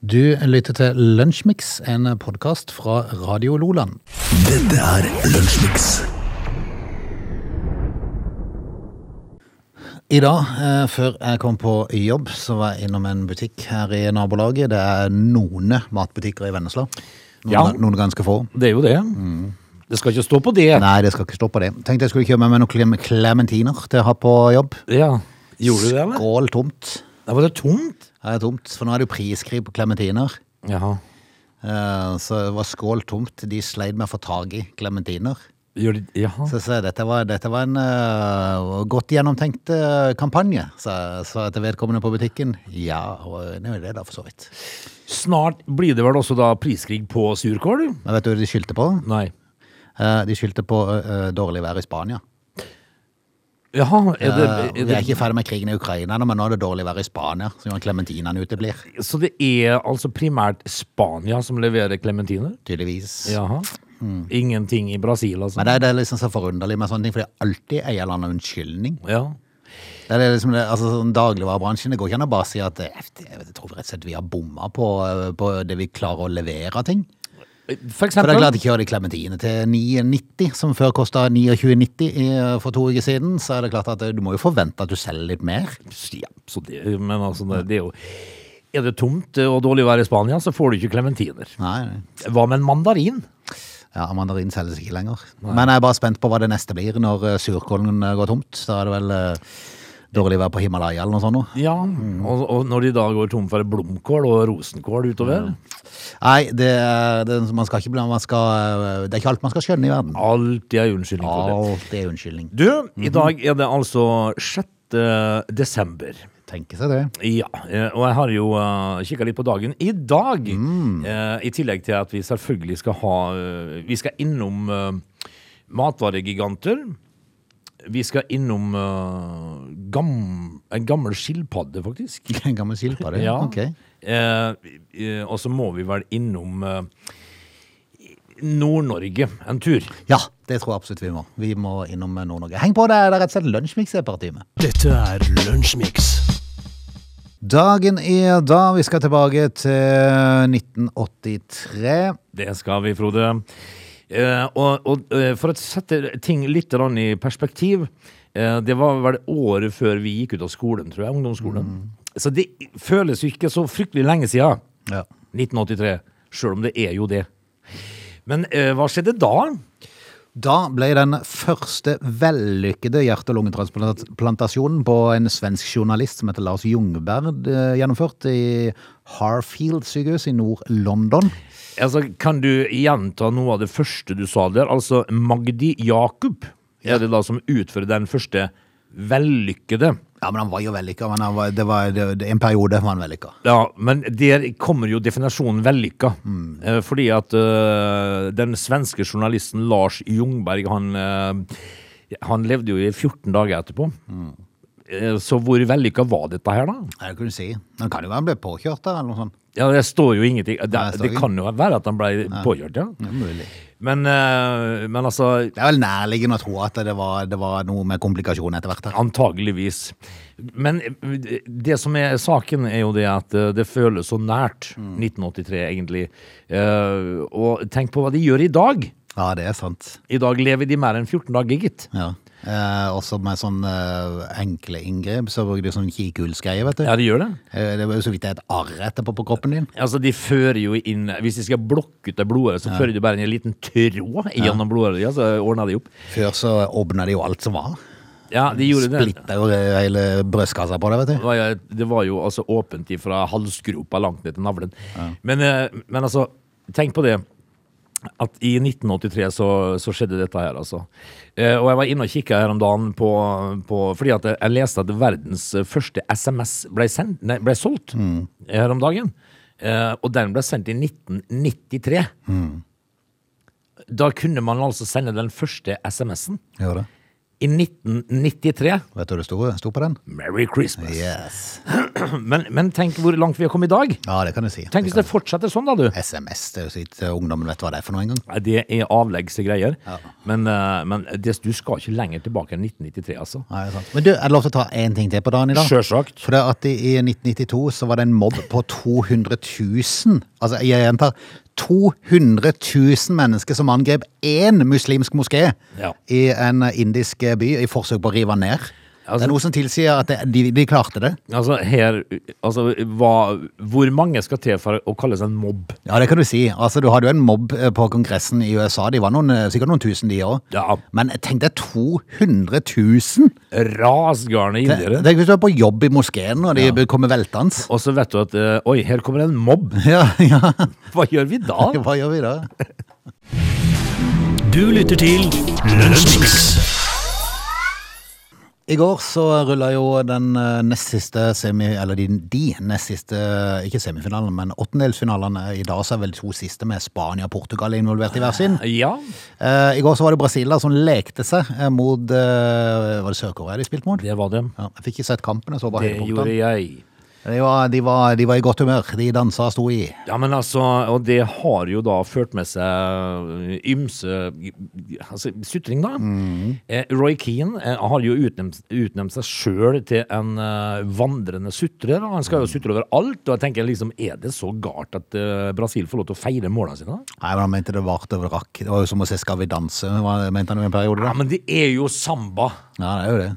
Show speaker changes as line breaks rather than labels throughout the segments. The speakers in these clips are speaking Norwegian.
Du lytter til Lunsjmix, en podkast fra Radio Loland.
Dette er Lunsjmix.
I dag, eh, før jeg kom på jobb, så var jeg innom en butikk her i nabolaget. Det er noen matbutikker i Vennesla. Noen,
Ja.
noen ganske få.
Det er jo det. Det skal ikke stå på det.
Nei, det skal ikke stå på det. Tenkte jeg skulle kjøpe meg noen klem- klementiner til å ha på jobb.
Ja. Gjorde du det, eller?
Skål tomt.
Da var det tomt.
Ja, Det er tomt, for nå er det jo priskrig på klementiner.
Jaha.
Eh, Så det var skål tomt. De sleit med å få tak i klementiner.
Gjør de, jaha.
Så, så dette, var, dette var en øh, godt gjennomtenkt øh, kampanje, sa sa jeg til vedkommende på butikken. Ja, og det er jo det da, for så vidt.
Snart blir det vel også da priskrig på surkål? du?
Men vet du hva de skyldte på?
Nei.
Eh, de skyldte på øh, øh, dårlig vær i Spania.
Jaha,
Eh,
er det, er
vi er
det,
ikke ferdig med krigen i Ukraina, nå, men nå er det dårlig vær i Spania, så gjør klementinene uteblir.
så det er altså primært Spania som leverer klementiner?
Tydeligvis.
Jaha. Mm. Ingenting i Brasil, altså?
Men det, er- det er liksom så forunderlig med sånne ting, for det er alltid en eller annen unnskyldning.
Ja.
Det er liksom det, altså sånn Dagligvarebransjen, det går ikke an å bare si at eh, jeg tror rett og slett vi har bomma på, øh, på det vi klarer å levere av ting. For
For
det er
eksempel?
klart ikke har de klementine til 9,90, som før kosta 29,90 i- eh, for to uker siden. Så er det klart at eh, du må jo forvente at du selger litt mer.
Ja, så det, men altså, det, det er jo Er det tomt og dårlig vær i Spania, så får du ikke klementiner.
Nei, nei.
Hva med en mandarin?
ja, Mandarin selges ikke lenger. Men jeg er bare spent på hva det neste blir når eh, surkålen eh, går tomt. Da er det vel eh, dårlig vær på Himalaya eller noe sånt. nå.
Ja, og, og når de da går tom for blomkål og rosenkål utover.
Nei, det, er- det, er- man skal ikke, bli- man skal, eh, det er ikke alt man skal skjønne i verden.
Alltid ei unnskyldning for det.
Alt er unnskyldning.
Du, i dag er det altså 6. desember.
Tenke seg det.
Ja, eh, og jeg har jo uh, kikka litt på dagen i dag. Eh, I tillegg til at vi selvfølgelig skal ha eh, Vi skal innom eh, matvaregiganter. Vi skal innom eh, gam, en gammel skilpadde, faktisk.
En gammel skilpadde.
Ja.
Ok.
Eh, eh, og så må vi vel innom eh, Nord-Norge en tur.
Ja, det tror jeg absolutt vi må. Vi må innom eh, Nord-Norge. Heng på, det er rett og slett lunsjmiks i et par timer.
Dette er Lunsjmix.
Dagen er da. Vi skal tilbake til 1983.
Det skal vi, Frode. Eh, og og eh, for å sette ting litt grann i perspektiv eh, Det var vel året før vi gikk ut av skolen, tror jeg. Ungdomsskolen. Så det føles jo ikke så fryktelig lenge siden.
Ja.
1983. Sjøl om det er jo det. Men eh, hva skjedde da?
Da ble den første vellykkede hjerte- og lungetransplantasjonen på en svensk journalist som heter Lars Ljungberg eh, gjennomført i Harfield sykehus i Nord-London.
Altså, kan du gjenta noe av det første du sa der? Altså, Magdi Jakub er det da som utfører den første vellykkede.
Ja, men han var jo vellykka. Men han var, det var det, det, en periode var han vellykka.
Ja, men der kommer jo definisjonen vellykka.
Mm.
Eh, Fordi at eh, den svenske journalisten Lars Ljungberg, han, eh, han levde jo i 14 dager etterpå.
Mm.
Eh, Så hvor vellykka var dette her, da?
Ja, Det kunne du si. Men det kan jo være han ble påkjørt der, eller noe sånt.
Ja, Det står jo ingenting. Det,
Nei, det står Mm.
det
ikke.
kan jo være at han ble påkjørt, ja.
Det er mulig.
Men, eh, men altså
Det er vel nærliggende å tro at det var, det var noe med komplikasjoner etter hvert. her.
Antageligvis. Men eh, det som er saken, er jo det at eh, det føles så nært 1983, egentlig. Eh, og tenk på hva de gjør i dag.
Ja, det er sant.
I dag lever de mer enn 14 dager, gitt.
Ja. Eh, også med sånn eh, enkle inngrep, så bruker de sånn kikullsgreie, vet du.
Ja, de gjør det.
Eh, det var jo så vidt det er et arr etterpå på kroppen din.
Altså, de fører jo inn Hvis de skal blokke ut det blodåret, så fører de bare inn en liten tråd gjennom blodåret, ja, så ordner de opp.
Før så åpna de jo alt som var.
Ja, de gjorde det.
Splitta jo eh, hele brystkassa på deg,
Det
vet du.
var jo- Det var jo altså åpent fra halsgropa langt ned til navlen. Men, eh, men altså, tenk på det. At i 1983 så, så skjedde dette her, altså. Eh, og jeg var inne og kikka her om dagen på, på Fordi at jeg- jeg leste at verdens første SMS ble, sendt, nei, ble solgt her om dagen. Eh, og den ble sendt i 1993. Da kunne man altså sende den første SMS-en.
Gjør det.
I 1993
Vet du hva det sto, sto på den?
Merry Christmas.
Yes.
Men, men tenk hvor langt vi har kommet i dag.
Ja, det kan du si.
Tenk hvis det fortsetter sånn, da, du.
SMS, det er jo så vidt eh, ungdommen vet hva det er for noe engang.
Nei, Det er avleggse greier. Men, eh, men det, du skal ikke lenger tilbake enn 1993, altså.
Nei, det er sant. Men du, er det lov til å ta én ting til på dagen i dag?
Sjølsagt.
For det at i i 1992 så var det en mobb på 200 000. Altså, jeg gjentar 200 000 mennesker som angrep én muslimsk moské
Ja.
i en indisk by i forsøk på å rive ned.
Altså-
det er noe som tilsier at det, de, de klarte det.
Altså, her, altså hva, hvor mange skal til for å kalles en mobb?
Ja, det kan du si. Altså, du hadde jo en mobb eh, på kongressen i USA. De var noen, eh, sikkert noen tusen, de òg.
Ja.
Men tenk deg 200 000!
Rasgarne indere.
Tenk hvis du er på jobb i moskeen, og de kommer veltende.
Og så vet du at eh, Oi, her kommer en mobb.
Ja, ja.
Hva gjør vi da?
Hva gjør vi da?
Du lytter til Lunsjmix.
I går så rulla jo den eh, nest siste semi... Eller de, de nest siste, ikke semifinalene, men åttendelsfinalene. I dag så er vel to siste med Spania og Portugal involvert i hver sin.
Ja.
Eh, I går så var det Brasilia som lekte seg eh, mot eh, Var det Sør-Korea de spilte mot?
Det var det.
Ja, jeg fikk ikke sett kampen, jeg så bare
Det gjorde
høydepunktene.
jeg.
De, var- de, var- de var i godt humør. De dansa og sto i.
Ja, men altså, Og det har jo da ført med seg ymse altså, sutring, da. Eh, Roy Keane eh, har jo utnevnt, utnevnt seg sjøl til en eh, vandrende sutrer. og Han skal jo sutre over alt. Og jeg tenker liksom, er det så galt at eh, Brasil får lov til å feire måla sine? da?
Nei, men Han mente det varte over rakk. Det var jo som å se Skal vi danse, hva mente han i en periode.
Ja,
da?
men det er jo samba.
Ja, det er jo det.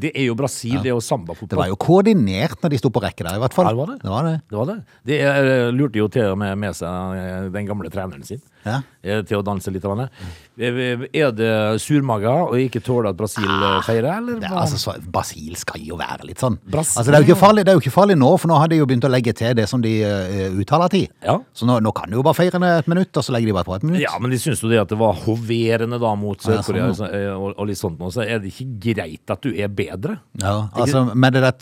Det er jo Brasil, det er jo
Det
sambafotball.
var jo koordinert når de sto på rekke der, i hvert fall.
Ja, det var det.
det, var det.
Det var det. Det eh, lurte jo til og med med seg eh, den gamle treneren sin
Ja.
eh, til å danse litt. grann. Eh, Er det surmaga og ikke tåle at Brasil eh, feirer, eller?
Ah, Det, er
hva?
altså, så, Brasil skal jo være litt sånn.
Brasil.
Altså, det, er jo ikke farlig, det er jo ikke farlig nå, for nå har de jo begynt å legge til det som de eh, uttaler til.
Ja.
Så nå, nå kan de jo bare feire ned et minutt, og så legger de bare på et minutt.
ja, men de syns jo det at det var hoverende da mot
Ja,
Sør-Korea
sånn,
eh, og, og litt sånt nå, så er det ikke greit at du er bedre.
Ja, altså, med det der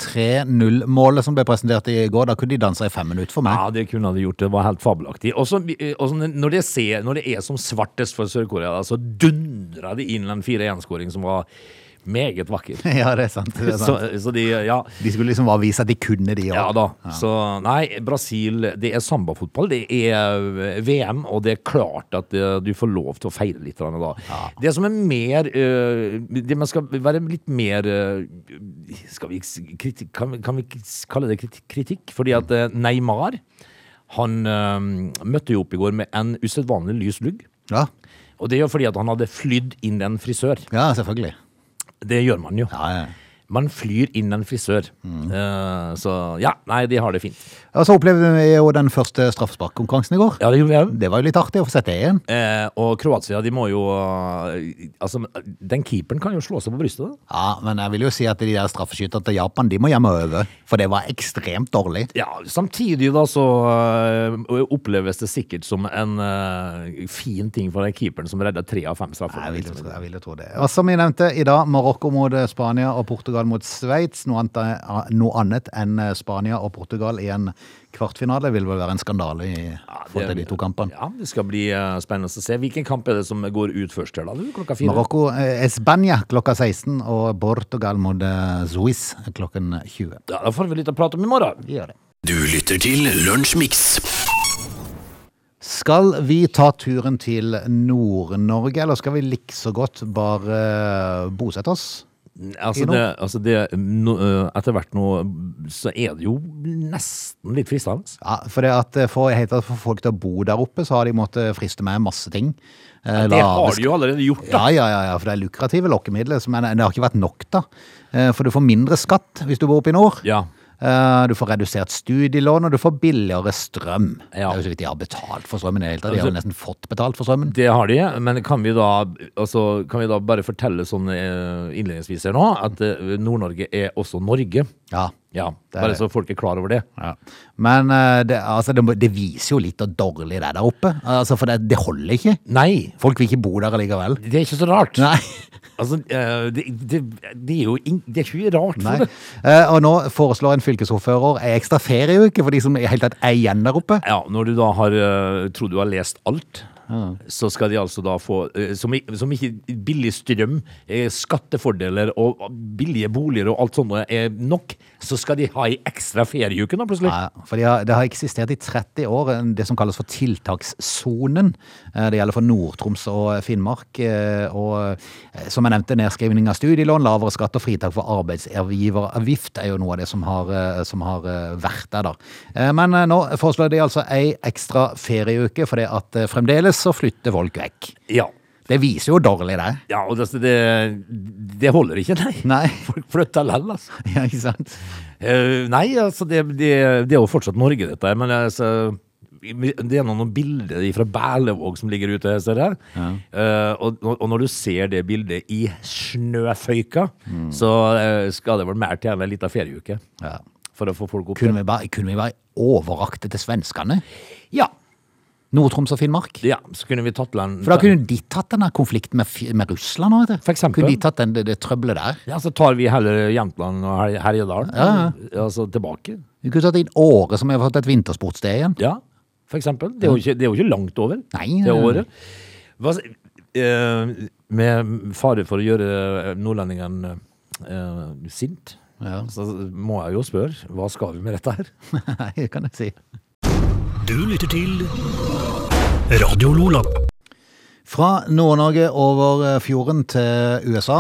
3-0-målet som ble presentert i går, da kunne de danse i fem minutter for meg.
Ja, det kunne de gjort. Det var helt fabelaktig. Og så- eh, og så når, det ser- når det er som svartest for Sør-Korea, da, så dundra det inn en 4-1-skåring som var meget vakker.
Ja, det er sant. Det er sant.
Så, så de, ja.
De skulle liksom bare vise at de kunne de
Ja
òg.
da. Så nei, Brasil det er sambafotball. Det er eh, VM, og det er klart at eh, du får lov til å feire litt grann da. Det som er mer eh, Det man skal være litt mer eh, skal vi, s- kriti- kan, vi- kan vi s- kalle det kriti- kritikk? Fordi at eh, Neymar han eh, møtte jo opp i går med en usedvanlig lys lugg.
Ja.
Og det er jo fordi at han hadde flydd inn en frisør.
ja, selvfølgelig.
Det gjør man jo.
Ja, ja.
Man flyr inn en frisør. Eh, så ja, nei, de har det fint.
Og så opplevde vi jo den første straffesparkkonkurransen i går.
Ja, det gjorde jeg òg.
Det var jo litt artig å få sett det igjen.
Eh, og Kroatia, de må jo eh, Altså, den keeperen kan jo slå seg på brystet. da.
Ja, men jeg vil jo si at de der straffeskytterne til Japan, de må hjemme over. For det var ekstremt dårlig.
Ja, Samtidig da så eh, oppleves det sikkert som en eh, fin ting for den keeperen som redda tre av fem straffer.
Jeg vil, jo tro, jeg vil jo tro det. Og som jeg nevnte, i dag Marokko mot eh, Spania og Portugal mot Sveits. Noe, annet- eh, noe annet enn eh, Spania og Portugal i en kvartfinale vil vel være en skandale i forhold til de to kampene.
Ja, Det skal bli eh, spennende å se. Hvilken kamp er det som går ut først her, da? du? Klokka fire?
Marokko, eh, Spania klokka 16 og Portugal mot eh, Suisse klokken 20.
Ja, da får vi litt å prate om i morgen.
Vi gjør det.
Du lytter til Lunsjmix.
Skal vi ta turen til Nord-Norge, eller skal vi likså godt bare eh, bosette oss?
Altså,
Kino?
det, altså det, no, eh, Etter hvert nå så er det jo nesten litt fristende.
Ja, for, det at eh, for, helt at for folk til å bo der oppe, så har de måttet friste med masse ting. Eh,
Det
lave
har de jo allerede gjort, da.
Ja, ja, ja, ja, for det er lukrative lokkemidler, så- men det har ikke vært nok da. Eh, For du får mindre skatt hvis du bor oppe i nord.
Ja.
Eh, Du får redusert studielån, og du får billigere strøm.
Ja.
Det er
Altså-
jo så vidt de har betalt for strømmen i det hele tatt. De har jo nesten fått betalt for strømmen.
Det har de, men kan vi da, altså, kan vi da bare fortelle sånn eh, innledningsvis her nå, at eh, Nord-Norge er også Norge?
Ja.
Ja,
er
bare
det.
så folk er klar over det.
Ja. Men eh, det, altså, det, må- det viser jo litt hvor dårlig det er der oppe. Altså, for det, det holder ikke.
Nei,
Folk vil ikke bo der allikevel.
det er ikke så rart.
Nei.
Altså, eh, det, det, det er jo ing- det er ikke rart
Nei.
for det.
Eh, og nå foreslår en fylkesordfører ei ekstra ferieuke for de som i hele tatt er igjen der oppe.
Ja, når du da har, eh, tror du har lest alt, så skal de altså da få, eh, som, i- som ikke billig strøm, eh, skattefordeler og billige boliger og alt sånt er nok, så skal de ha ei ekstra ferieuke nå plutselig.
Ja, for de har, Det har eksistert i 30 år, en- det som kalles for tiltakssonen. Eh, Det gjelder for Nord-Troms og Finnmark. eh, Og eh, som jeg nevnte, nedskrivning av studielån, lavere skatt og fritak for arbeidsgiveravgift er jo noe av det som har, eh, som har eh, vært der, da. Eh, Men eh, nå foreslår de altså ei ekstra ferieuke, for det at eh, fremdeles så flytter folk vekk.
Ja.
Det viser jo dårlig, det.
Ja, og altså, det, det, det holder ikke, nei.
Nei,
Folk flytter lell, altså.
ja, ikke sant?
Eh, nei, altså, det, det, det er jo fortsatt Norge, dette her, men altså det er noen bilder fra Berlevåg som ligger ute. Ser du her? Eh, og, og når du ser det bildet i snøføyka,
Mm.
så eh, skal det vel mer til enn en liten ferieuke.
Ja.
For å få folk opp.
Kunne vi bare, kunne vi bare overrakte til svenskene?
Ja,
Nord-Troms og Finnmark?
ja, så kunne vi tatt land
For da kunne de tatt den der konflikten med, Fi- med Russland òg, vet du.
For eksempel.
Kunne de tatt den, det, det trøbbelet der?
Ja, Så tar vi heller Jämtland og Her- Herjedalen.
Ja,
Altså tilbake.
Vi kunne tatt inn Åre, som har fått et vintersportssted igjen.
Ja, for eksempel. Det er jo ikke, det er jo ikke langt over
Nei,
det
nei, nei.
året. Hva, s- eh, med fare for å gjøre nordlendingen eh, sint,
Ja.
så må jeg jo spørre, hva skal vi med dette her?
Nei, det kan jeg si.
Du lytter til Radio Lola.
Fra Nord-Norge over eh, fjorden til USA.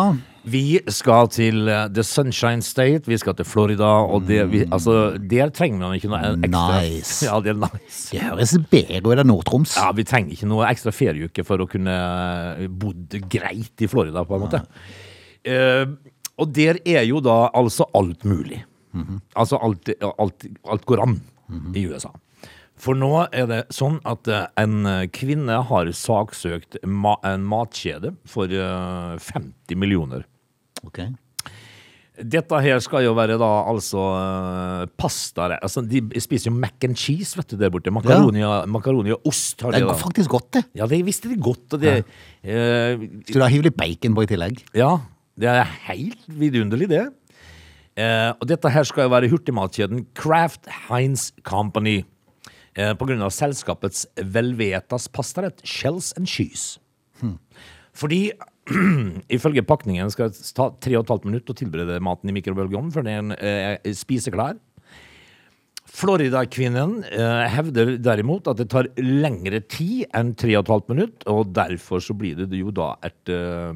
Vi skal til eh, The Sunshine State, vi skal til Florida, og det, vi, altså, der trenger man ikke noe e- ekstra.
Nice.
Ja, det er nice.
Det høres bedre ut enn Nord-Troms.
Ja, vi trenger ikke noe ekstra ferieuke for å kunne eh, bodd greit i Florida, på en måte. Eh, og der er jo da altså alt mulig. Altså alt, alt, alt går an i USA. For nå er det sånn at eh, en kvinne har saksøkt ma en matkjede for eh, 50 millioner.
Ok.
Dette her skal jo være da altså eh, pasta altså, De spiser jo mac and cheese, vet du, der borte. Makaroni, og- makaroni og ost. Har de
Det
da.
går faktisk godt, det.
Ja, det visste de godt. Og det, eh,
Skulle da hive litt bacon på i tillegg.
ja, det er helt vidunderlig, det. Eh, og dette her skal jo være hurtigmatkjeden Kraft Heinz Company. Eh, på grunn av selskapets velvetas pastarett Shells and Cheese. Fordi ifølge pakningen skal det ta 3,5 minutter å tilberede maten i mikrobølgeovnen før den eh, er spiseklar. Florida-kvinnen eh, hevder derimot at det tar lengre tid enn 3,5 minutter, og derfor så blir det jo da et eh,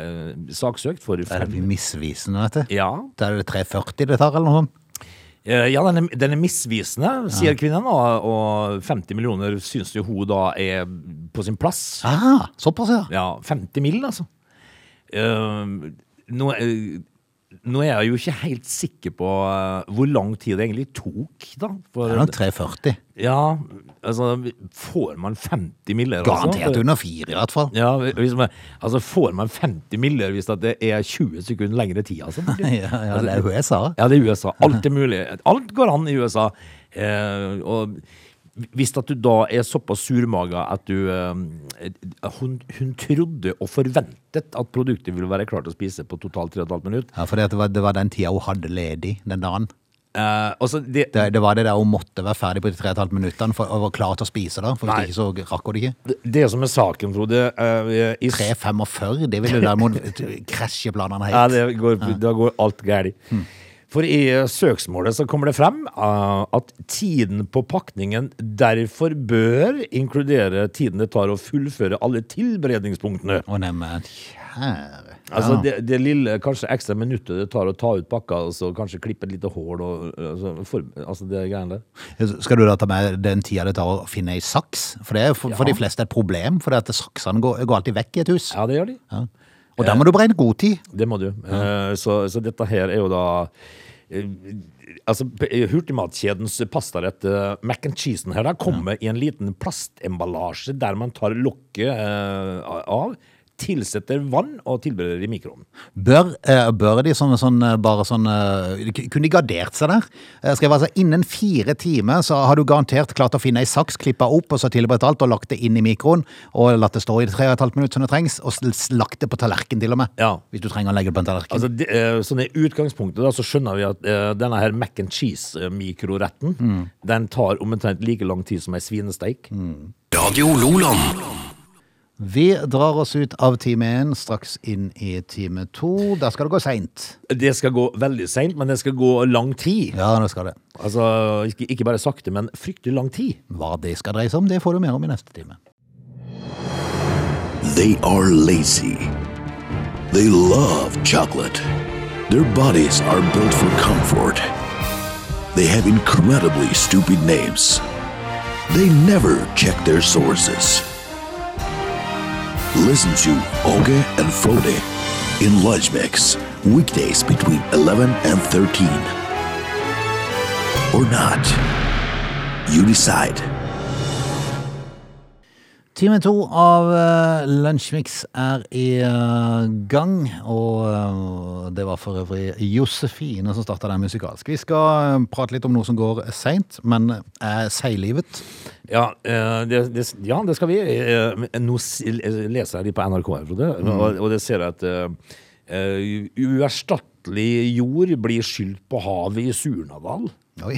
eh, saksøkt for
Der er
fem...
vi misvisende, vet du.
Ja,
Der er det 3,40 det tar, eller noe sånt.
eh, ja den, er, den er misvisende, sier kvinnen, og, og 50 millioner syns jo hun da er på sin plass.
Ah, såpass, ja.
Ja, 50 mil, altså. Eh, nå, eh, nå er jeg jo ikke helt sikker på eh, hvor lang tid det egentlig tok, da. For,
Det er nok 3,40.
Ja, altså Får man 50 miller?
Garantert
Altså?
under fire, i hvert fall.
Ja, hvis man, altså Får man 50 miller hvis at det er 20 sekunder lengre tid? Altså?
Ja, ja, det er jo det jeg sa.
Ja, det er USA. Alt er mulig. Alt går an i USA. Eh, og hvis at du da er såpass surmaga at du eh, hun, hun trodde og forventet at produktet ville være klart å spise på totalt 3,5 minutter.
Ja, for det var, det var den tida hun hadde ledig den dagen.
Eh, altså, det,
Det, det var det der hun måtte være ferdig på de tre og et halvt minuttene for å være klar til å spise. da, For
Nei.
hvis ikke så rakk hun det ikke.
det som er saken, Frode eh, i-
3.45, det ville derimot krasje planene
Ja,
helt.
Hmm. det går, da går alt galt. For i eh, søksmålet så kommer det frem eh, at tiden på pakningen derfor bør inkludere tiden det tar å fullføre alle tilberedningspunktene.
Å neimen, kjære.
Altså det, det lille kanskje ekstra minuttet det tar å ta ut pakka, og så kanskje klippe et lite hål og altså, for, altså det greiene der.
Skal du da ta med den tida det tar å finne ei saks? For det er for, for de fleste et problem, for det at saksene går, går alltid vekk i et hus.
Ja, det gjør de.
Ja. Og da må du beregne god tid.
Det må du. Eh, Så, så dette her er jo da eh, Altså, p- Hurtigmatkjedens pastarett, eh, mac and cheesen her, da, kommer i en liten plastemballasje der man tar lokket eh, av, tilsetter vann og tilbereder i mikroen.
Bør, eh, bør de sånn, sånn, eh, bare sånn eh, k- Kunne de gardert seg der? Eh, Skrev altså innen fire timer så har du garantert klart å finne ei saks, klippa opp og så tilberedt alt og lagt det inn i mikroen og latt det stå i tre og et halvt minutt som det trengs, og s- lagt det på tallerken til og med.
Ja.
Hvis du trenger å legge det på en tallerken.
Altså, det, eh, sånn I utgangspunktet da, så skjønner vi at eh, denne her mac and cheese-mikroretten den tar omtrent like lang tid som ei svinesteik.
Radio Loland.
Vi drar oss ut av time én, straks inn i time to. Der skal det gå seint.
Det skal gå veldig seint, men det skal gå lang tid.
Ja, det skal det.
Altså, ikke, ikke bare sakte, men fryktelig lang tid.
Hva det skal dreie seg om, det får du mer om i neste time.
They are lazy. They love chocolate. Their bodies are built for comfort. They have incredibly stupid names. They never check their sources. Listen to Oge and Frode in Lunch Mix, weekdays between 11 and 13. Or not. You decide.
Time to av uh, Lunsjmix er i eh, gang, og eh, det var for øvrig Josefine som starta den musikalsk. Vi skal eh, prate litt om noe som går seint, men eh, er seiglivet.
Ja, eh, det, det, ja, det skal vi. Eh, men Nå s- leser jeg litt på NRK, her, Frode, og, og det ser jeg at eh, eh, uerstattelig jord blir skylt på havet i Surnadal.
Oi.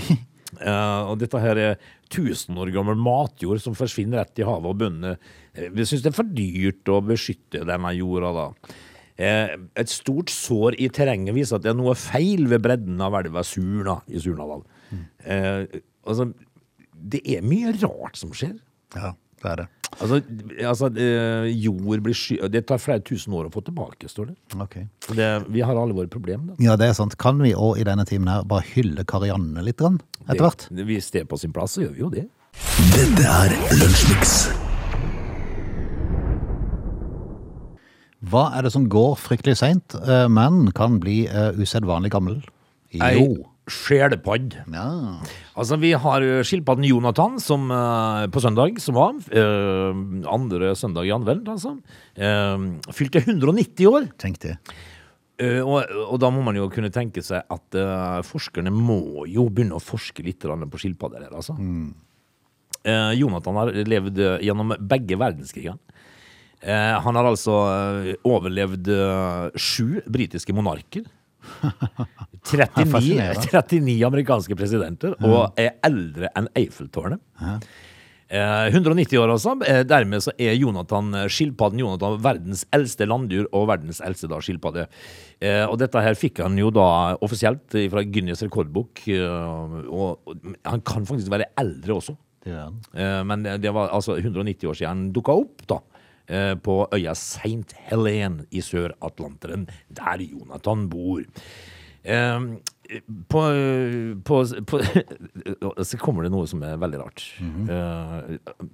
Eh, og dette her er tusen år gammel matjord som forsvinner rett i havet, og bøndene eh, vi synes det er for dyrt å beskytte denne jorda. da. Eh, et stort sår i terrenget viser at det er noe feil ved bredden av elva Surna i Surnadal. Eh, altså, det er mye rart som skjer.
Ja, det er det.
Altså, altså eh, jord blir sky... Det tar flere tusen år å få tilbake, står det.
Ok.
Så det vi har alle våre problemer, da.
Ja, det er sant. Kan vi òg i denne timen her bare hylle Karianne litt grann, etter hvert?
Det- Hvis det er på sin plass, så gjør vi jo det.
Dette er Lunsjmix.
Hva er det som går fryktelig seint, eh, men kan bli eh, usedvanlig gammel?
Ei
Jo.
sjelepadd.
Ja.
Altså, vi har ø, skilpadden Jonathan som, ø, på søndag, som var ø, andre søndag i anvendt, altså. Ø, fylte 190 år.
Tenk det.
Ø, og, og da må man jo kunne tenke seg at ø, forskerne må jo begynne å forske litt grann på skilpadder her, altså. Eh, Jonathan har levd ø, gjennom begge verdenskrigene. Eh, han har altså ø, overlevd ø, sju britiske monarker. 39,
Fascinerende.
39 amerikanske presidenter og er eldre enn Eiffeltårnet. Eh, 190 år altså. Eh, dermed så er Jonathan, eh, skilpadden Jonathan verdens eldste landdyr og verdens eldste da skilpadde. Eh, og dette her fikk han jo da offisielt fra Guinness rekordbok. Eh, og, og han kan faktisk være eldre også.
Det er den.
Eh, men det det var altså 190 år siden han dukka opp, da. eh, På øya St. Helen i Sør-Atlanteren, der Jonathan bor. Eh, På, på, på Så kommer det noe som er veldig rart. Eh,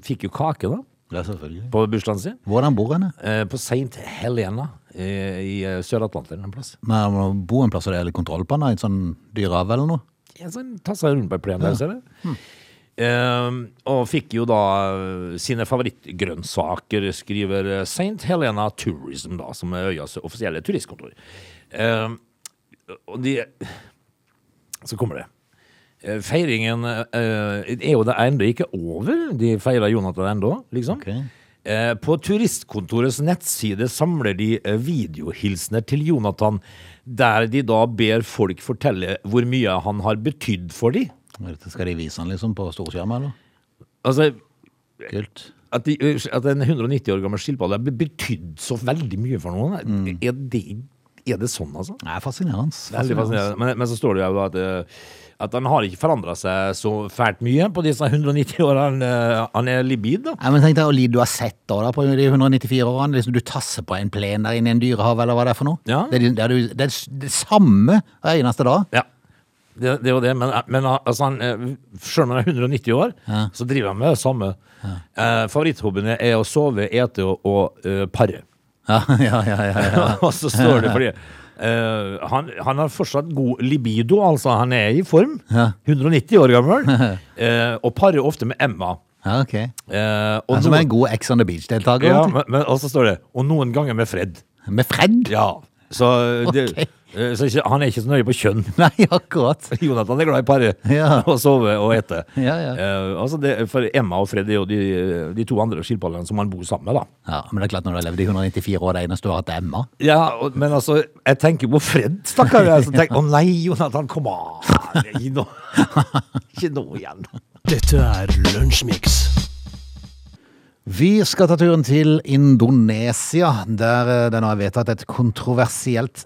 Fikk jo kake, da,
Ja, selvfølgelig.
på bursdagen sin.
Hvordan bor henne?
Eh, På St. Helena eh, i eh, Sør-Atlanteren en plass.
Men han må bo en plass der det er litt kontroll på han, da, i en sånn dyrehave eller noe.
Ja, så han tasset rundt på en plen der, ser du. Ehm, og fikk jo da eh, sine favorittgrønnsaker, skriver eh, St. Helena Tourism, da, som er øyas offisielle turistkontor. Ehm, og de Så kommer det. Eh, Feiringen eh, er jo det ennå ikke over. De feirer Jonathan ennå, liksom.
Ok.
Eh, På turistkontorets nettside samler de eh, videohilsener til Jonathan, der de da ber folk fortelle hvor mye han har betydd for dem.
Dette Skal de vise han liksom på storskjerm, eller?
Altså,
Kult.
at, de, at en 190 år gammel skilpadde har betydd så veldig mye for noen, er, det, er Mm. det sånn, altså?
Nei, fascinerende.
Veldig fascinerende. Men, men så står det jo at, eh, at han har ikke forandra seg så fælt mye på disse 190 årene eh, han er libid, da.
Nei, men tenk deg hvor lite du har sett da, da på de 194 årene. Liksom, du tasser på en plen der inne i en dyrehave, eller hva det er for noe.
Ja.
Det, er, de- det, er, du- det er s- det samme hver eneste dag.
Ja. Det, det er jo det, men, men altså, han, eh, selv om han er 190 år, så driver han med det samme. Eh, Favoritthobbyene er å sove, ete og, og eh, pare.
Ja, ja, ja. ja, ja.
og så står det fordi eh, han, han har fortsatt god libido, altså. Han er i form. 190 år gammel. eh, og parer ofte med Emma.
ja ok.
Eh, og
Han som er
noen,
en god Ex on the Beach-deltaker.
ja,
vet du.
men, men, og så står det 'og noen ganger med Fred'.
Med Fred?
Ja. Så, det,
Ok.
eh, så ikke, han er ikke så nøye på kjønn.
Nei, akkurat.
Jonathan er glad i pare
Ja.
og sove og ete.
Ja, ja.
Eh, altså det, for Emma og Fred er jo de, de to andre skilpaddene som han bor sammen med, da.
Ja, men det er klart når du har levd i 194 år, det eneste du har hatt er Emma.
Ja, og, men altså, jeg tenker på Fred, stakkar. Jeg som tenker, Å nei, Jonathan, kom an! Ikke nå, ikke nå igjen.
Dette er Lunsjmix.
Vi skal ta turen til Indonesia, der eh, det nå er vedtatt et kontroversielt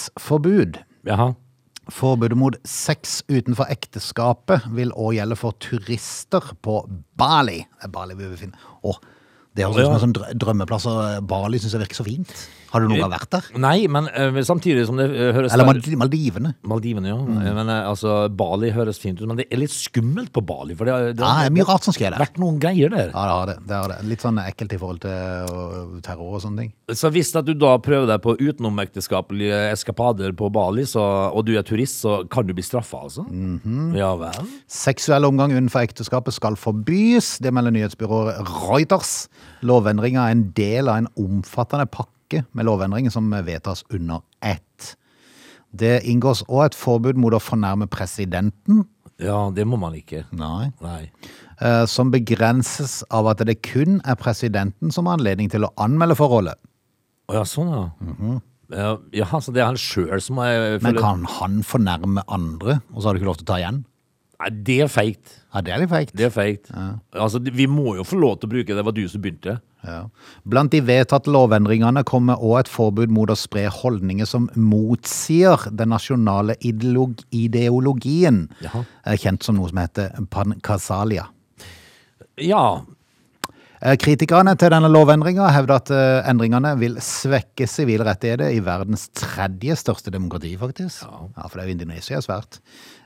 sexforbud.
Jaha.
Forbudet mot sex utenfor ekteskapet vil òg gjelde for turister på Bali. Det er Bali vi befinner Å, Det høres ut som en sånn drø- drømmeplass, og Bali syns jeg virker så fint. Har du noen gang vært der?
Nei, men eh, samtidig som det eh, høres
Eller Mal- Maldivene?
Maldivene, ja. Eh, Men eh, altså, Bali høres fint ut, men det er litt skummelt på Bali. For det, har- det
Ja,
har
Ah, det er mye rart som skjer der.
vært noen greier der.
Ja, det har det. det, har det. Litt sånn ekkelt i forhold til øh, terror og sånne ting.
Så hvis at du da prøver deg på utenomekteskapelige eskapader på Bali, så, og du er turist, så kan du bli straffa, altså? Ja vel?
Seksuell omgang utenfor ekteskapet skal forbys, det melder nyhetsbyrået Reuters. Lovendringa er en del av en omfattende pakke med lovendringer som vedtas under ett. Det inngås òg et forbud mot å fornærme presidenten,
Ja, det må man ikke.
Nei.
Nei.
eh, som begrenses av at det kun er presidenten som har anledning til å anmelde forholdet.
Å ja, sånn ja. ja. Jaha, så det er han sjøl som er
Mhm. Men
føler-
kan han fornærme andre, og så har du ikke lov til å ta igjen?
Nei, det er feigt.
Ja, det er litt feigt.
Det er feigt. Altså, vi må jo få lov til å bruke det. Det var du som begynte.
Ja. Blant de vedtatte lovendringene kommer også et forbud mot å spre holdninger som motsier den nasjonale ideolog ideologien,
Jaha.
eh, kjent som noe som heter pankasalia.
Ja.
Eh, Kritikerne til denne lovendringa hevder at eh, endringene vil svekke sivile rettigheter i verdens tredje største demokrati, faktisk. Ja, For det er jo Indonesia er svært.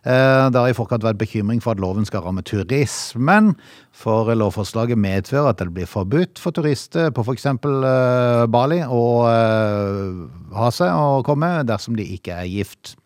Eh, Det har i forkant vært bekymring for at loven skal ramme turismen, for lovforslaget medfører at det blir forbudt for turister på f.eks. Bali å eh, ha seg og komme dersom de ikke er gift. Det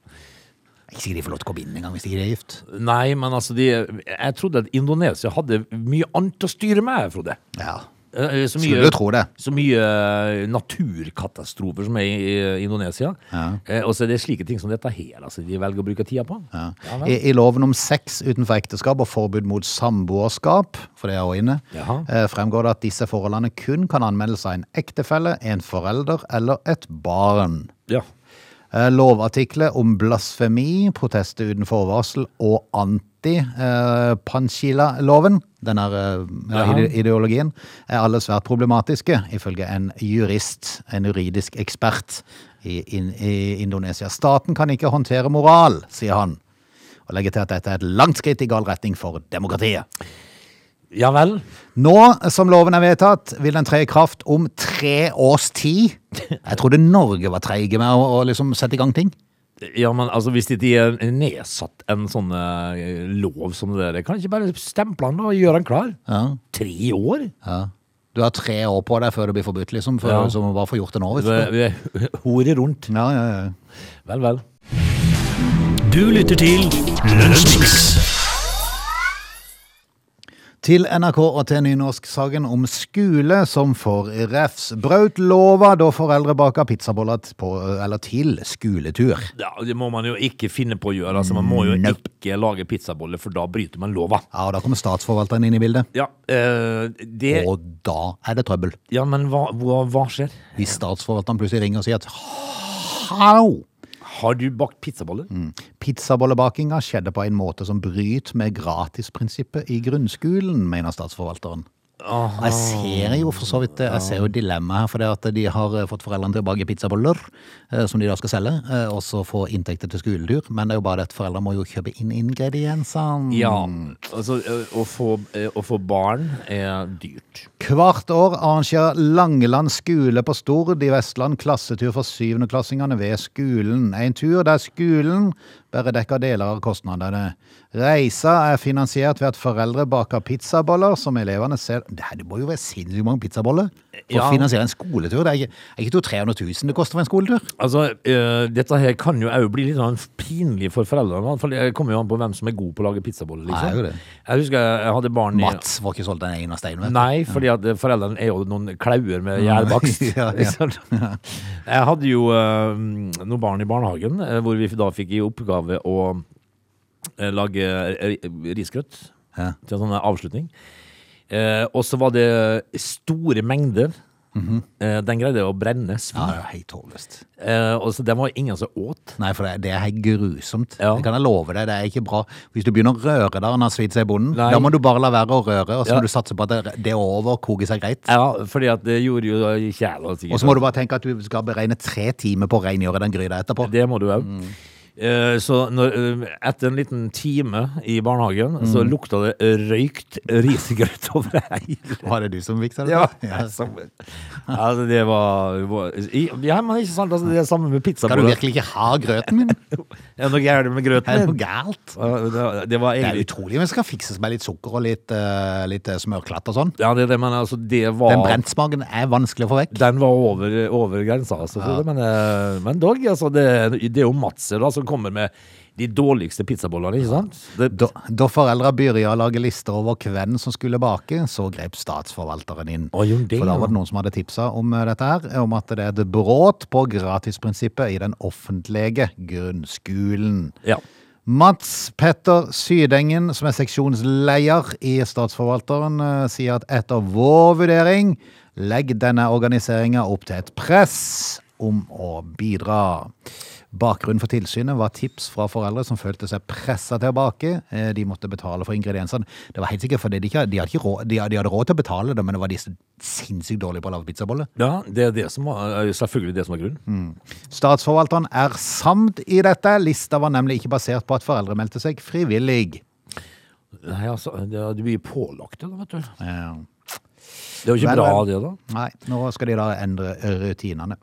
er Ikke sikkert de får lov til å komme inn engang hvis de ikke er gift.
Nei, men altså, de, jeg trodde at Indonesia hadde mye annet å styre med, Frode.
Ja,
Eh, eh, Så
Skulle du tro det.
Så mye eh, naturkatastrofer som er i i Indonesia. Eh, Og så er det slike ting som dette her altså, de velger å bruke tida på. Ja, vel.
I, I loven om sex utenfor ekteskap og forbud mot samboerskap, for det er også inne,
Jaha.
eh, fremgår det at disse forholdene kun kan anmeldes av en ektefelle, en forelder eller et barn.
ja.
Eh, Lovartikler om blasfemi, protester uten forvarsel og eh, anti-Panchila-loven, denne eh, ja,
Jaha.
ide- ideologien, er alle svært problematiske, ifølge en jurist, en juridisk ekspert i, in, i Indonesia. Staten kan ikke håndtere moral, sier han, og legger til at dette er et langt skritt i gal retning for demokratiet.
ja vel.
Nå som loven er vedtatt, vil den tre i kraft om tre års tid. Jeg trodde Norge var treige med å, å liksom sette i gang ting.
Ja, men altså, hvis det ikke er nedsatt en sånn eh, lov som det der, kan ikke bare stemple den da og gjøre den klar? Tre år?
Du har tre år på deg før det blir forbudt, liksom. For,
Ja.
Så må du bare få gjort det nå, hvis
Vi,
du.
vi horer rundt.
Ja, ja, ja.
Vel, vel.
Du lytter til Lunsjmix.
Til NRK og til nynorsksaken om skole som får refs. Braut lova da foreldre baker pizzaboller t- på, eller til skoletur.
Ja, det må man jo ikke finne på å gjøre. Altså, man må jo
Nope.
ikke lage pizzaboller, for da bryter man lova.
Ja, og da kommer statsforvalteren inn i bildet.
Ja, eh, det
Og da er det trøbbel.
Ja, men hva, hva, hva skjer?
Hvis statsforvalteren plutselig ringer og sier at Hallo!
Har du bakt pizzaboller?
Pizzabollebakinga skjedde på en måte som bryter med gratisprinsippet i grunnskolen, mener statsforvalteren. Jeg ser jo for så vidt det. Jeg ser jo dilemmaet her, for det at de har eh, fått foreldrene til å bake pizzaboller, eh, som de da skal selge, eh, og så få inntekter til skoletur. Men det er jo bare det at foreldre må jo kjøpe inn ingrediensene.
Ja, altså ø, å få, ø, å få barn er dyrt.
Hvert år arrangerer Langeland skole på Stord i Vestland klassetur for syvendeklassingene ved skolen. En tur der skolen bare dekker deler av kostnadene. Reisa er finansiert ved at foreldre baker pizzaboller som elevene selv Det her, det må jo være sinnssykt mange pizzaboller for
Ja.
å finansiere en skoletur. Det er ikke, er ikke to 300 000 det koster for en skoletur.
Altså, ø, dette her kan jo òg bli litt sånn pinlig for foreldrene. For det kommer jo an på hvem som er god på å lage pizzaboller.
Det er jo
Liksom.
det.
Jeg husker jeg- jeg hadde barn i
Mats får ikke solgt en eneste en, vet du.
Nei, fordi at ø, foreldrene er jo noen klauer med gjærbakst.
Ja, ja.
liksom. Jeg hadde jo ø, noen barn i barnehagen ø, hvor vi da fikk i oppgave å ø, lage ø, risgrøt
Ja.
til en sånn avslutning. Eh, og så var det store mengder Eh, Den greide å brenne.
Mhm. Ja, det er helt håpløst.
Eh, og så den var ingen som åt.
Nei, for det, det er helt grusomt.
Ja.
Det kan jeg love deg, det er ikke bra. Hvis du begynner å røre der han har svidd seg i bonden,
Nei.
da må du bare la være å røre, og så
Ja.
må du satse på at det, det er over og koker seg greit.
Ja, fordi at det gjorde jo kjæla sikkert.
Og så må du bare tenke at du skal beregne tre timer på å rengjøre den gryta etterpå.
Det må du òg.
Mm.
Så når, eh, etter en liten time i
Mm.
barnehagen, så lukta det røykt risgrøt over hele
Var det du som fiksa det?
Ja,
Ja.
som- altså, det var, var i- Ja, men ikke sant? Altså, det er det samme med pizza.
Skal du virkelig ikke ha grøten min?
Er det noe gærent med
Er det
grøten?
noe
din?
galt?
Eh, Det, det var
Det er
egentlig
utrolig, men skal fikses med litt sukker og litt, eh, litt eh, smørklatt og sånn.
Ja, det er det, men altså, det var
Den brentsmaken er vanskelig å få vekk.
Den var over, over grensa, altså, Frode, men, eh, men dog. Altså, det, det er jo Matser da, som kommer med de dårligste pizzabollene, ikke sant? Det,
Da, da foreldra begynte å lage lister over hvem som skulle bake, så grep statsforvalteren inn.
Å, gjorde det,
For da var
ja.
det noen som hadde tipsa om eh, dette her, om at det er et brudd på gratisprinsippet i den offentlige grunnskolen.
ja.
Mats Petter Sydengen, som er seksjonsleder i Statsforvalteren, eh, sier at etter vår vurdering legger denne organiseringa opp til et press om å bidra. Bakgrunnen for tilsynet var tips fra foreldre som følte seg pressa til å bake. Eh, De måtte betale for ingrediensene. Det var helt sikkert fordi de, ikke, de, hadde, ikke råd, de, de hadde råd til å betale det, men det var de så sinnssykt dårlige på å lage pizzaboller.
ja, det er det som var, er jo selvfølgelig det som er grunnen.
Statsforvalteren er samd i dette. Lista var nemlig ikke basert på at foreldre meldte seg frivillig.
Nei, altså, det, du blir pålagt det, da, vet du.
Ja.
Det er jo ikke
Vel,
bra,
vel.
det, da.
Nei, nå skal de da endre rutinene.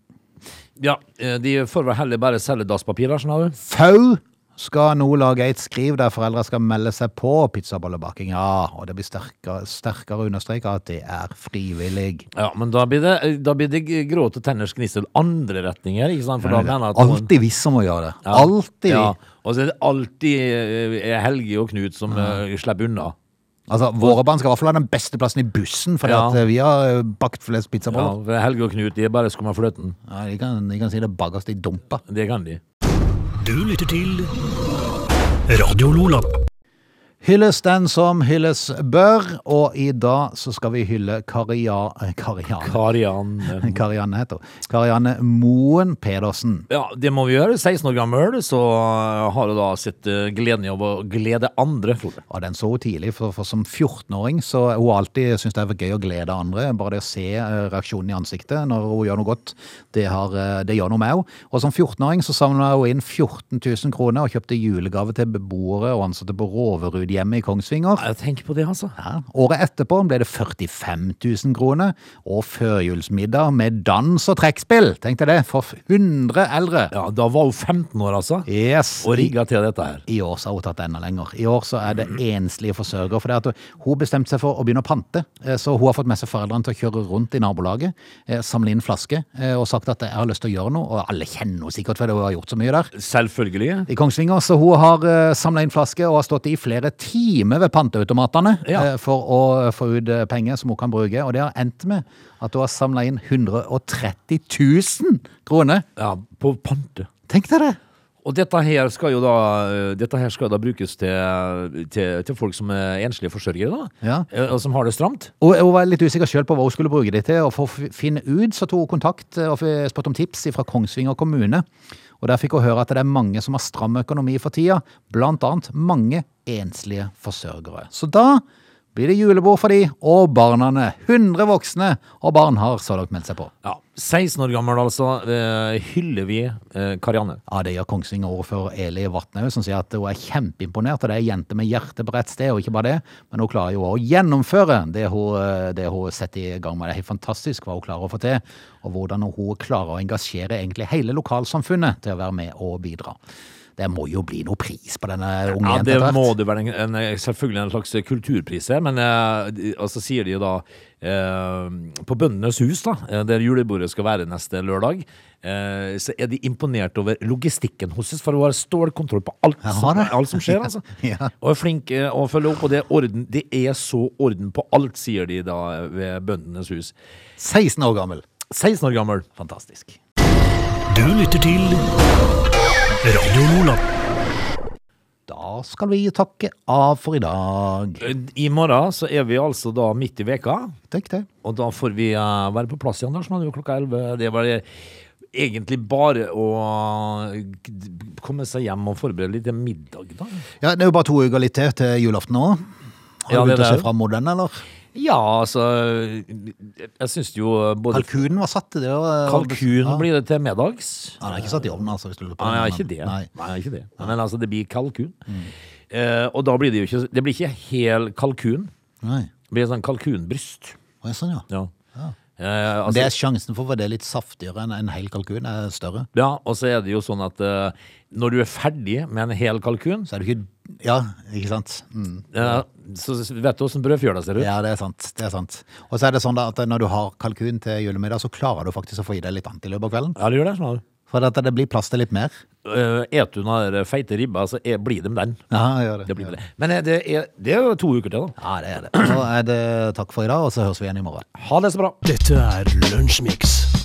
Ja, eh, de får vel heller bare selge dasspapir, da, skjønner du.
Fau skal nå lage et skriv der foreldre skal melde seg på pizzabollebaking. Ja, og det blir sterkere, sterkere understreka at det er frivillig.
Ja, men da blir det, eh, da blir det gråte tenners gnissel andre retninger, ikke sant? For da mener jeg at noen-
Alltid vi som må gjøre det.
Ja.
Alltid.
Ja,
vi.
og så er det alltid eh, Helge og Knut som eh, slipper unna.
Altså, Våre barn skal i hvert fall ha den beste plassen i bussen, for
Ja.
vi har eh, bakt flest
Ja,
pizzaboller.
for Helge og Knut de er bare skum av fløten.
Ja. de, kan, de kan si det bakerst i dumpa.
Det kan de.
Du lytter til Radio Lola.
Hylles den som hylles bør, og i dag så skal vi hylle Karia... Karian.
Karian eh,
Karianne heter hun. Karianne Moen Pedersen.
Ja, det må vi gjøre. 16 år gammel, så eh, har hun da sett eh, gleden i å glede andre. Frode.
Ja, den så hun tidlig, for, for som 14-åring så hun har alltid syntes det er gøy å glede andre. Bare det å se eh, reaksjonen i ansiktet når hun gjør noe godt, det, har, eh, det gjør noe med henne. Og som 14-åring så samla hun inn 14 000 kroner og kjøpte julegave til beboere og ansatte på Roverudhjemmet i Kongsvinger.
Jeg tenker på det, altså.
Ja. Året etterpå ble det 45 000 kroner og førjulsmiddag med dans og trekkspill. Tenk deg det, for 100 eldre.
Ja, Da var hun 15 år, altså,
Yes.
og rigga til dette her.
I år så har hun tatt det enda lenger. I år så er det enslige forsørgere. For det at hun bestemte seg for å begynne å pante. Eh, Så hun har fått med seg foreldrene til å kjøre rundt i nabolaget, eh, samle inn flasker eh, og sagt at jeg har lyst til å gjøre noe. Og alle kjenner henne sikkert fordi hun har gjort så mye der.
Selvfølgelig.
I Kongsvinger, så hun har samla inn flasker og har stått i flere timer ved panteautomatene
Ja.
eh, for å få ut eh, penger som hun kan bruke. Og det har endt med at hun har samla inn 130 000 kroner.
Ja, På pante.
Tenk deg det!
Og dette her skal jo da, dette her skal da brukes til, til, til folk som er enslige forsørgere, da.
Ja.
Eh, Og som har det stramt.
Og hun var litt usikker sjøl på hva hun skulle bruke det til, og for å finne ut så tok hun kontakt eh, og spurte om tips fra Kongsvinger kommune. Og der fikk hun høre at det er mange som har stram økonomi for tida, blant annet mange enslige forsørgere. Så da blir det julebord for de og barna. 100 voksne og barn har så langt meldt seg på.
Ja, 16 år gammel, altså, eh, hyller vi eh, Karianne.
Ja, Det gjør Kongsvinger-ordfører Eli Vatnhaug, som sier at hun er kjempeimponert. Og det er ei jente med hjertet på rett sted, og ikke bare det, men hun klarer jo å gjennomføre det hun, eh, det hun setter i gang med. Det er helt fantastisk hva hun klarer å få til, og hvordan hun klarer å engasjere egentlig hele lokalsamfunnet til å være med og bidra. Det må jo bli noe pris på denne unge
Ja,
jenta
det
etter
må
hvert.
det være en, en, selvfølgelig en slags kulturpris her, men eh, de- og så sier de jo da eh, På Bøndenes hus, da, eh, der julebordet skal være neste lørdag, eh, så er de imponert over logistikken hos oss, for hun har stålkontroll på alt,
Jeg har
som,
det.
alt som skjer. Altså.
Ja.
Og er flink eh, å følge opp, og det er, orden, det er så orden på alt, sier de da eh, ved Bøndenes hus.
16 år gammel.
16 år gammel.
Fantastisk.
Du lytter til Radio Lola.
Da da skal vi takke av for i dag.
Eh, I morgen så er vi altså da midt i veka,
Tenk det.
og da får vi eh, være på plass igjen, Lars. Men det er jo klokka 11. Det var egentlig bare å eh, komme seg hjem og forberede litt til middag, da.
Ja, Det er jo bare to uker litt til til julaften nå. Har
Ja,
du
det
begynt å
er
se
det.
fram mot den, eller?
Ja, altså Jeg syns jo både
Kalkunen var satt til det. og-
Kalkun
ja.
blir det til middags.
Han er ikke satt i ovnen, altså. hvis du lurer på
Nei,
det, men-
jeg er ikke det.
Nei.
Nei, jeg er ikke det. Men altså, det blir kalkun. Eh, og da blir det jo ikke Det blir ikke hel kalkun.
Nei.
Det blir sånn kalkunbryst.
Å, ja, Sånn, ja.
Ja. Eh,
Men det
altså,
er sjansen for å få det litt saftigere enn en hel kalkun er større.
ja, og så er det jo sånn at eh, når du er ferdig med en hel kalkun,
Så er det ikke Ja, ikke sant? Mm.
eh, så vet du åssen brødfjøla ser ut.
Ja, det er sant. det er sant. Og så er det sånn da at når du har kalkun til julemiddag, så klarer du faktisk å få i deg litt annet i løpet av kvelden.
Ja, det gjør det. sånn
For at det blir plass til litt mer.
uh, Et du den der feite ribba, så er, blir det med den.
Ja, gjør det.
Det blir med det. Men eh, det er, det er jo to uker til, da.
Ja, det er det. Så er det takk for i dag, og så høres vi igjen i morgen.
Ha det så bra.
Dette er Lunsjmix.